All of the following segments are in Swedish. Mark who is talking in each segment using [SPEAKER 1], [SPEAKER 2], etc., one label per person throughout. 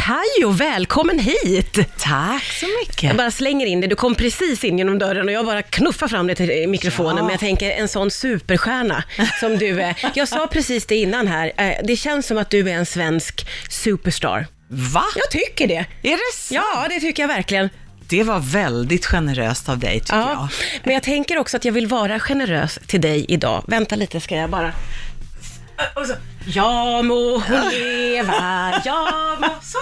[SPEAKER 1] Kajo, välkommen hit!
[SPEAKER 2] Tack så mycket.
[SPEAKER 1] Jag bara slänger in det. Du kom precis in genom dörren och jag bara knuffar fram dig till mikrofonen.
[SPEAKER 2] Ja.
[SPEAKER 1] Men jag tänker en sån superstjärna som du är. Jag sa precis det innan här. eh, Det känns som att du är en svensk superstar.
[SPEAKER 2] Va?
[SPEAKER 1] Jag tycker det.
[SPEAKER 2] Är det sant?
[SPEAKER 1] Ja, det tycker jag verkligen.
[SPEAKER 2] Det var väldigt generöst av dig tycker
[SPEAKER 1] Ja. Men jag tänker också att jag vill vara generös till dig idag. Vänta lite ska jag bara... Och så, ja må hon leva, ja må så...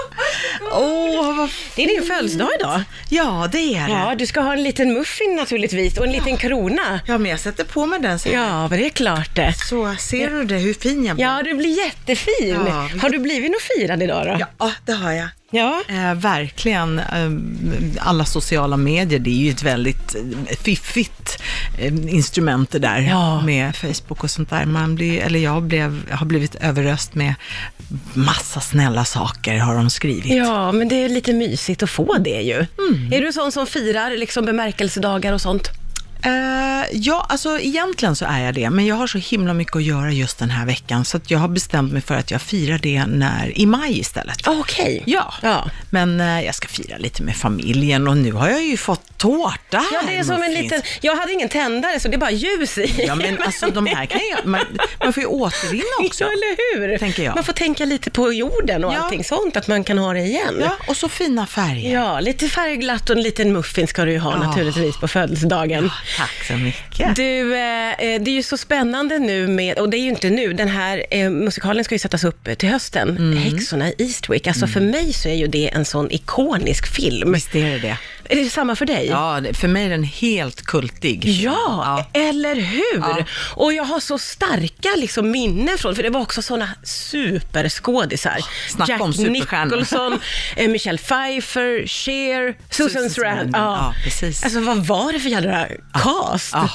[SPEAKER 2] jag. Åh, vad...
[SPEAKER 1] Det är din födelsedag idag.
[SPEAKER 2] Ja, det är det.
[SPEAKER 1] Ja,
[SPEAKER 2] Ja.
[SPEAKER 1] du ska ha en liten muffin naturligtvis och en liten krona.
[SPEAKER 2] men jag sätter på mig den så,
[SPEAKER 1] Ja, men det är klart det.
[SPEAKER 2] så ser du det, hur fin jag blir.
[SPEAKER 1] Ja, du blir jättefin.
[SPEAKER 2] Ja, vi-
[SPEAKER 1] Har du blivit något firad idag då?
[SPEAKER 2] ja det har jag.
[SPEAKER 1] Ja.
[SPEAKER 2] Eh, verkligen, eh, alla sociala medier, det är ju ett väldigt eh, fiffigt eh, instrument det där
[SPEAKER 1] Ja.
[SPEAKER 2] med Facebook och sånt där. Man blir, eller jag blev, har blivit överröst med massa snälla saker har de skrivit.
[SPEAKER 1] Ja, men det är lite mysigt att få det ju.
[SPEAKER 2] Mm.
[SPEAKER 1] Är du sån som firar liksom bemärkelsedagar och sånt?
[SPEAKER 2] Eh, ja, alltså egentligen så är jag det, men jag har så himla mycket att göra just den här veckan, så att jag har bestämt mig för att jag firar det när, i maj istället.
[SPEAKER 1] Okej.
[SPEAKER 2] Ja,
[SPEAKER 1] Ja.
[SPEAKER 2] men eh, jag ska fira lite med familjen och nu har jag ju fått tårta
[SPEAKER 1] Ja, det är
[SPEAKER 2] här,
[SPEAKER 1] som en
[SPEAKER 2] muffins.
[SPEAKER 1] liten... Jag hade ingen tändare, så det är bara ljus i.
[SPEAKER 2] Ja, men alltså de här kan ju, man, man får ju återvinna också.
[SPEAKER 1] Ja, eller hur?
[SPEAKER 2] Tänker jag.
[SPEAKER 1] Man får tänka lite på jorden och
[SPEAKER 2] Ja.
[SPEAKER 1] allting sånt, att man kan ha det igen.
[SPEAKER 2] Ja, och så fina färger.
[SPEAKER 1] Ja, lite färgglatt och en liten muffin ska du ju ha
[SPEAKER 2] Ja.
[SPEAKER 1] naturligtvis på födelsedagen.
[SPEAKER 2] Tack så mycket.
[SPEAKER 1] Du, eh, eh, det är ju så spännande nu med, och det är ju inte nu, den här eh, musikalen ska ju sättas upp eh, till hösten,
[SPEAKER 2] Mm.
[SPEAKER 1] Häxorna i Eastwick. Alltså för mig så är ju det en sån ikonisk film.
[SPEAKER 2] Visst är det det?
[SPEAKER 1] Är det samma för dig?
[SPEAKER 2] Ja, det- för mig är den helt kultig.
[SPEAKER 1] Ja, eller hur?
[SPEAKER 2] Ja.
[SPEAKER 1] Och jag har så starka liksom, minnen från, för det var också såna superskådisar.
[SPEAKER 2] snacka
[SPEAKER 1] Jack
[SPEAKER 2] om superstjärnor.
[SPEAKER 1] Nicholson, eh, Michelle Pfeiffer, Cher, Susan,
[SPEAKER 2] Susan
[SPEAKER 1] Strand.
[SPEAKER 2] Sarandon, ja, precis.
[SPEAKER 1] Alltså vad var det för jävla cast?
[SPEAKER 2] Ja.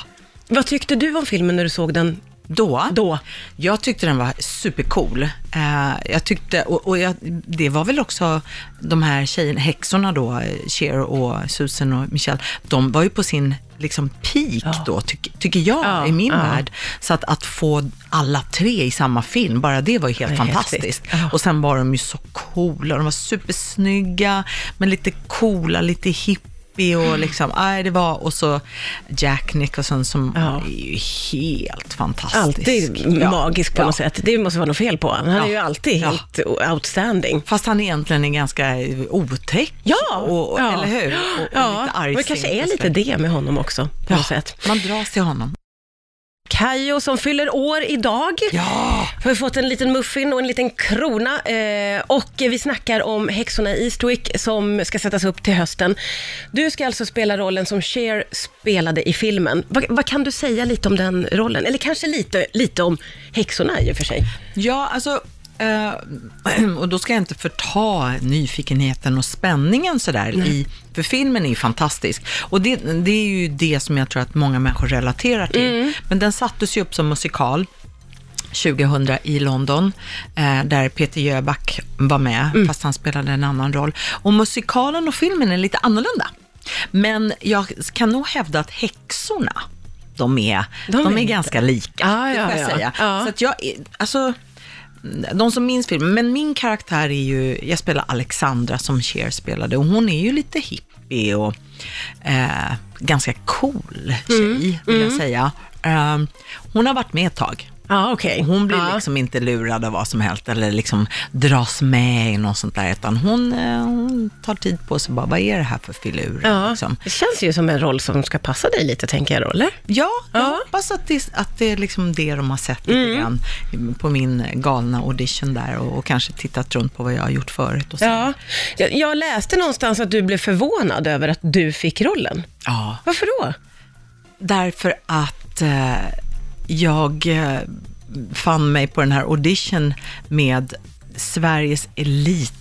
[SPEAKER 1] Vad tyckte du om filmen när du såg den?
[SPEAKER 2] Då,
[SPEAKER 1] Då.
[SPEAKER 2] Jag tyckte den var supercool. Eh, jag tyckte, och, och jag, det var väl också de här tjejerna, häxorna då, eh, Cher och Susan och Michelle, de var ju på sin liksom peak då, tyck, tycker jag,
[SPEAKER 1] Ja,
[SPEAKER 2] i min
[SPEAKER 1] ja.
[SPEAKER 2] värld. Så att, att få alla tre i samma film, bara det var ju helt
[SPEAKER 1] Det är häftigt.
[SPEAKER 2] fantastiskt.
[SPEAKER 1] Ja.
[SPEAKER 2] Och sen var de ju så coola, de var supersnygga, men lite coola, lite hipp
[SPEAKER 1] Mm.
[SPEAKER 2] och liksom, aj, det var, och så Jack Nicholson som
[SPEAKER 1] Ja.
[SPEAKER 2] är ju helt fantastisk.
[SPEAKER 1] Alltid
[SPEAKER 2] Ja.
[SPEAKER 1] magisk på
[SPEAKER 2] Ja.
[SPEAKER 1] något sätt. Det måste vara något fel på honom. Han är
[SPEAKER 2] Ja.
[SPEAKER 1] ju alltid
[SPEAKER 2] Ja.
[SPEAKER 1] helt outstanding.
[SPEAKER 2] Fast han egentligen är ganska eh, otäck.
[SPEAKER 1] Ja,
[SPEAKER 2] och, och,
[SPEAKER 1] ja.
[SPEAKER 2] eller hur? Och, och
[SPEAKER 1] ja.
[SPEAKER 2] lite argsint.
[SPEAKER 1] Men det kanske är lite det med honom också, på något
[SPEAKER 2] ja,
[SPEAKER 1] sätt.
[SPEAKER 2] Man dras till honom.
[SPEAKER 1] Kajo som fyller år idag.
[SPEAKER 2] Ja,
[SPEAKER 1] Vi har fått en liten muffin och en liten krona eh, och vi snackar om Häxorna i Eastwick som ska sättas upp till hösten. Du ska alltså spela rollen som Cher spelade i filmen. Vad- vad kan du säga lite om den rollen? Eller kanske lite, lite om häxorna i och för sig.
[SPEAKER 2] ja alltså, eh, och då ska jag inte förta nyfikenheten och spänningen sådär, i, för filmen är ju fantastisk. Och det, det är ju det som jag tror att många människor relaterar till.
[SPEAKER 1] Mm.
[SPEAKER 2] Men den sattes ju upp som musikal. 2000 i London, eh, där Peter Jöback var med,
[SPEAKER 1] Mm.
[SPEAKER 2] fast han spelade en annan roll. Och musikalen och filmen är lite annorlunda. Men jag kan nog hävda att häxorna, de är,
[SPEAKER 1] De
[SPEAKER 2] de
[SPEAKER 1] är
[SPEAKER 2] är,
[SPEAKER 1] inte-
[SPEAKER 2] ganska
[SPEAKER 1] Ja,
[SPEAKER 2] lika, det
[SPEAKER 1] Ah, ja,
[SPEAKER 2] får jag
[SPEAKER 1] ja.
[SPEAKER 2] säga.
[SPEAKER 1] Ja.
[SPEAKER 2] Så att jag, är- alltså, de som minns filmen, men min karaktär är ju, jag spelar Alexandra som Cher spelade och hon är ju lite hippie och eh, ganska cool tjej,
[SPEAKER 1] Mm,
[SPEAKER 2] vill jag säga. Eh, hon har varit med ett tag.
[SPEAKER 1] Ja, okej.
[SPEAKER 2] Och Hon blir
[SPEAKER 1] ja.
[SPEAKER 2] liksom inte lurad av vad som helst eller liksom dras med i något sånt där, utan hon, eh, hon tar tid på sig bara, vad är det här för filur?
[SPEAKER 1] Ja.
[SPEAKER 2] Liksom.
[SPEAKER 1] Det känns ju som en roll som ska passa dig lite, tänker jag då, eller?
[SPEAKER 2] Ja, jag
[SPEAKER 1] Ja. Mm.
[SPEAKER 2] hoppas att det, att det är liksom det de har sett lite grann på min galna audition där och, och kanske tittat runt på vad jag har gjort förut. Och så.
[SPEAKER 1] Ja. Jag, jag läste någonstans att du blev förvånad över att du fick rollen.
[SPEAKER 2] ja.
[SPEAKER 1] Varför då?
[SPEAKER 2] Därför att eh, jag eh, fann mig på den här audition med Sveriges elit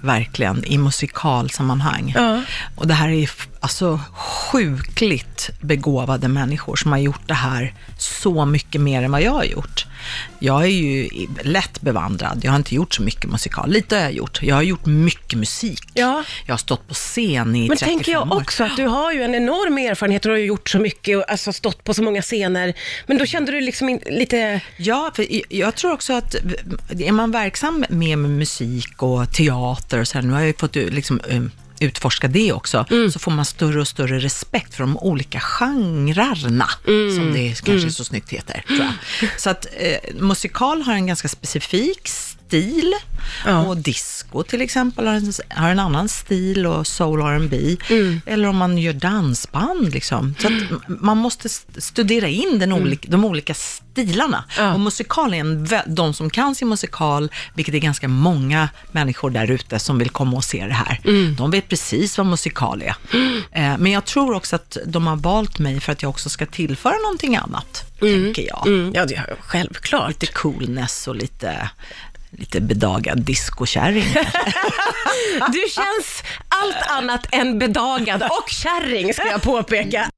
[SPEAKER 2] verkligen i musikalsammanhang.
[SPEAKER 1] Ja.
[SPEAKER 2] Och det här är f- alltså sjukligt begåvade människor som har gjort det här så mycket mer än vad jag har gjort. jag är ju lätt bevandrad. Jag har inte gjort så mycket musikal. Lite har jag gjort. Jag har gjort mycket musik.
[SPEAKER 1] Ja.
[SPEAKER 2] Jag har stått på scen i
[SPEAKER 1] Men
[SPEAKER 2] 35
[SPEAKER 1] tänker jag
[SPEAKER 2] år.
[SPEAKER 1] också att du har ju en enorm erfarenhet och du har ju gjort så mycket och alltså stått på så många scener. Men då kände du liksom in, lite,
[SPEAKER 2] Ja, för i- jag tror också att är man verksam med musik och teater och så här, nu har jag ju fått ju liksom, eh, utforska det också, så får man större och större respekt för de olika genrerna, som det kanske så snyggt heter, tror jag. Så att eh, musikal har en ganska specifik stil
[SPEAKER 1] Ja.
[SPEAKER 2] och disco till exempel har en, har en annan stil och soul R&B
[SPEAKER 1] Mm.
[SPEAKER 2] Eller om man gör dansband liksom. Så att m- man måste st- studera in den olika, de olika stilarna.
[SPEAKER 1] Mm. Ja.
[SPEAKER 2] Och musikal är en, vä- de som kan sin musikal, vilket är ganska många människor där ute som vill komma och se det här.
[SPEAKER 1] Mm.
[SPEAKER 2] De vet precis vad musikal är. Eh, men jag tror också att de har valt mig för att jag också ska tillföra någonting annat, tänker jag.
[SPEAKER 1] mm, ja det har jag självklart.
[SPEAKER 2] Lite coolness och lite, lite bedagad diskokärring.
[SPEAKER 1] Du känns allt annat än bedagad och kärring ska jag påpeka.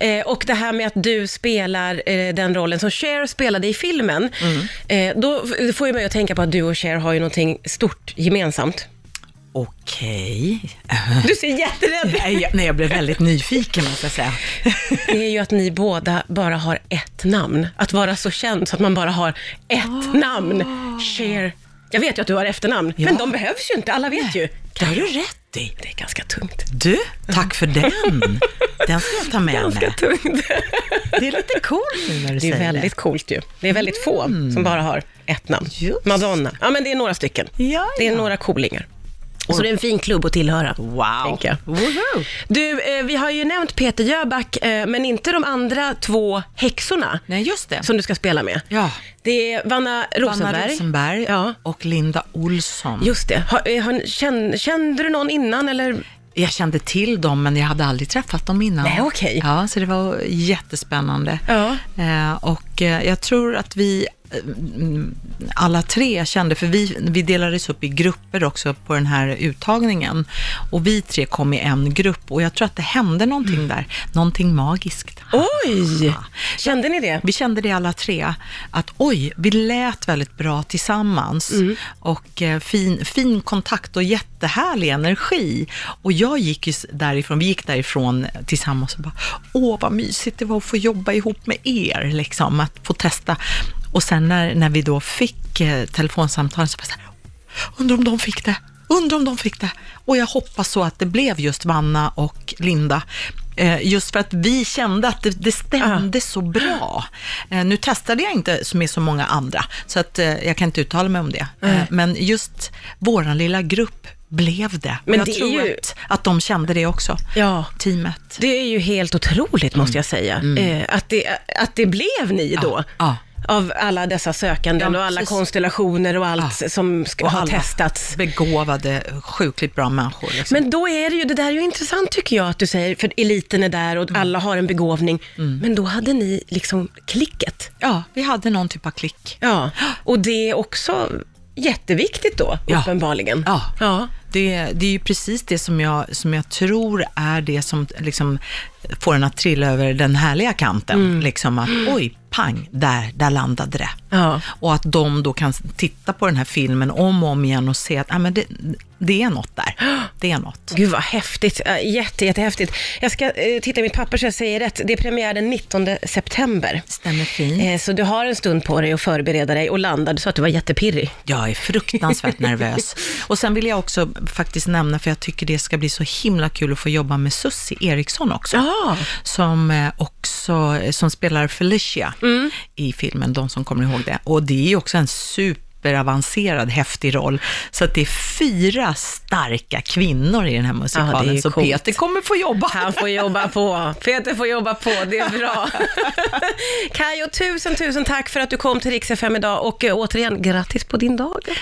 [SPEAKER 1] Eh, och det här med att du spelar eh, den rollen som Cher spelade i filmen, eh, då f- får ju mig att tänka på att du och Cher har ju någonting stort gemensamt.
[SPEAKER 2] Okej.
[SPEAKER 1] Du ser jätterädd ut.
[SPEAKER 2] Nej, jag- nej, jag blev väldigt nyfiken måste jag säga.
[SPEAKER 1] Det är ju att ni båda bara har ett namn. Att vara så känd så att man bara har ett namn. Cher. Jag vet ju att du har efternamn, men de behövs ju inte. Alla vet ju.
[SPEAKER 2] Det har du rätt i.
[SPEAKER 1] Det är ganska tungt.
[SPEAKER 2] Du, tack för den. Den ska jag ta med
[SPEAKER 1] Ganska
[SPEAKER 2] mig.
[SPEAKER 1] tungt.
[SPEAKER 2] Det är lite coolt nu när du
[SPEAKER 1] Det Mm.
[SPEAKER 2] säger
[SPEAKER 1] är väldigt coolt ju. Det är väldigt få som bara har ett namn.
[SPEAKER 2] Just.
[SPEAKER 1] Madonna. Ja, men det är några stycken.
[SPEAKER 2] Ja,
[SPEAKER 1] Det är
[SPEAKER 2] ja.
[SPEAKER 1] några coolingar. Så det är en fin klubb att tillhöra.
[SPEAKER 2] Wow.
[SPEAKER 1] Tänker jag.
[SPEAKER 2] Woho.
[SPEAKER 1] Du, eh, vi har ju nämnt Peter Jöback, eh, men inte de andra två häxorna
[SPEAKER 2] Nej, just det.
[SPEAKER 1] som du ska spela med.
[SPEAKER 2] Ja.
[SPEAKER 1] Det är Vanna Rosenberg.
[SPEAKER 2] Anna Rosenberg
[SPEAKER 1] Ja.
[SPEAKER 2] och Linda Olsson.
[SPEAKER 1] Just det. Har, eh, har, kände, kände du någon innan eller?
[SPEAKER 2] Jag kände till dem, men jag hade aldrig träffat dem innan.
[SPEAKER 1] Nej, okej.
[SPEAKER 2] Ja, så det var jättespännande.
[SPEAKER 1] Ja.
[SPEAKER 2] Eh, och eh, jag tror att vi eh, mm, alla tre kände, för vi, vi delades upp i grupper också på den här uttagningen. Och vi tre kom i en grupp och jag tror att det hände någonting
[SPEAKER 1] Mm.
[SPEAKER 2] där. Någonting magiskt.
[SPEAKER 1] Oj! Kände ni det?
[SPEAKER 2] Vi kände det alla tre, att oj, vi lät väldigt bra tillsammans och eh, fin, fin kontakt och jättehärlig energi. Och jag gick ju s- därifrån, vi gick därifrån tillsammans och bara, åh vad mysigt det var att få jobba ihop med er, liksom, att få testa. Och sen när, när vi då fick eh, telefonsamtalen så bara så här, Undrar om de fick det. Undrar om de fick det. Och jag hoppas så att det blev just Vanna och Linda. Eh, Just för att vi kände att det, det stämde så bra. Eh, Nu testade jag inte som är så många andra, så att eh, jag kan inte uttala mig om det. Eh, Men just våran lilla grupp blev det.
[SPEAKER 1] Men
[SPEAKER 2] jag
[SPEAKER 1] det är
[SPEAKER 2] tror
[SPEAKER 1] ju-
[SPEAKER 2] att, att de kände det också,
[SPEAKER 1] Ja.
[SPEAKER 2] teamet.
[SPEAKER 1] Det är ju helt otroligt måste jag säga, eh, att, det, att det blev ni då.
[SPEAKER 2] Mm. ja.
[SPEAKER 1] Av alla dessa sökanden
[SPEAKER 2] Ja,
[SPEAKER 1] och alla
[SPEAKER 2] precis.
[SPEAKER 1] konstellationer och allt
[SPEAKER 2] Ja.
[SPEAKER 1] som ska, har
[SPEAKER 2] alla
[SPEAKER 1] testats.
[SPEAKER 2] Begåvade, sjukligt bra människor. Liksom.
[SPEAKER 1] Men då är det ju, det där är ju intressant tycker jag att du säger, för eliten är där
[SPEAKER 2] Mm.
[SPEAKER 1] och alla har en begåvning. Men då hade ni liksom klicket.
[SPEAKER 2] ja, vi hade någon typ av klick.
[SPEAKER 1] Ja, och det är också jätteviktigt då,
[SPEAKER 2] Ja.
[SPEAKER 1] uppenbarligen.
[SPEAKER 2] Ja.
[SPEAKER 1] ja.
[SPEAKER 2] Det, det är ju precis det som jag, som jag tror är det som liksom får en att trilla över den härliga kanten. Liksom att oj, pang, där, där landade det.
[SPEAKER 1] Ja.
[SPEAKER 2] Och att de då kan titta på den här filmen om och om igen och se att ah, men det, det är något där. Det är något.
[SPEAKER 1] Gud vad häftigt, Ja, jätte, jättehäftigt. Jag ska eh, titta i mitt papper så jag säger rätt. Det är premiär den 19 september.
[SPEAKER 2] Stämmer fint.
[SPEAKER 1] Eh, så du har en stund på dig att förbereda dig och landa. Du sa att du var jättepirrig.
[SPEAKER 2] Jag är fruktansvärt nervös. Och sen vill jag också faktiskt nämna, för jag tycker det ska bli så himla kul att få jobba med Sussi Eriksson också.
[SPEAKER 1] Ja.
[SPEAKER 2] som eh, också som spelar Felicia
[SPEAKER 1] Mm.
[SPEAKER 2] i filmen, de som kommer ihåg det. Och det är ju också en superavancerad, häftig roll. Så att det är fyra starka kvinnor i den här
[SPEAKER 1] Ja, det är
[SPEAKER 2] musikalen,
[SPEAKER 1] ju
[SPEAKER 2] så
[SPEAKER 1] coolt.
[SPEAKER 2] Peter kommer få jobba.
[SPEAKER 1] Han får jobba på. Peter får jobba på, det är bra. Kajo, tusen, tusen tack för att du kom till Rix FM idag och eh, återigen, grattis på din dag.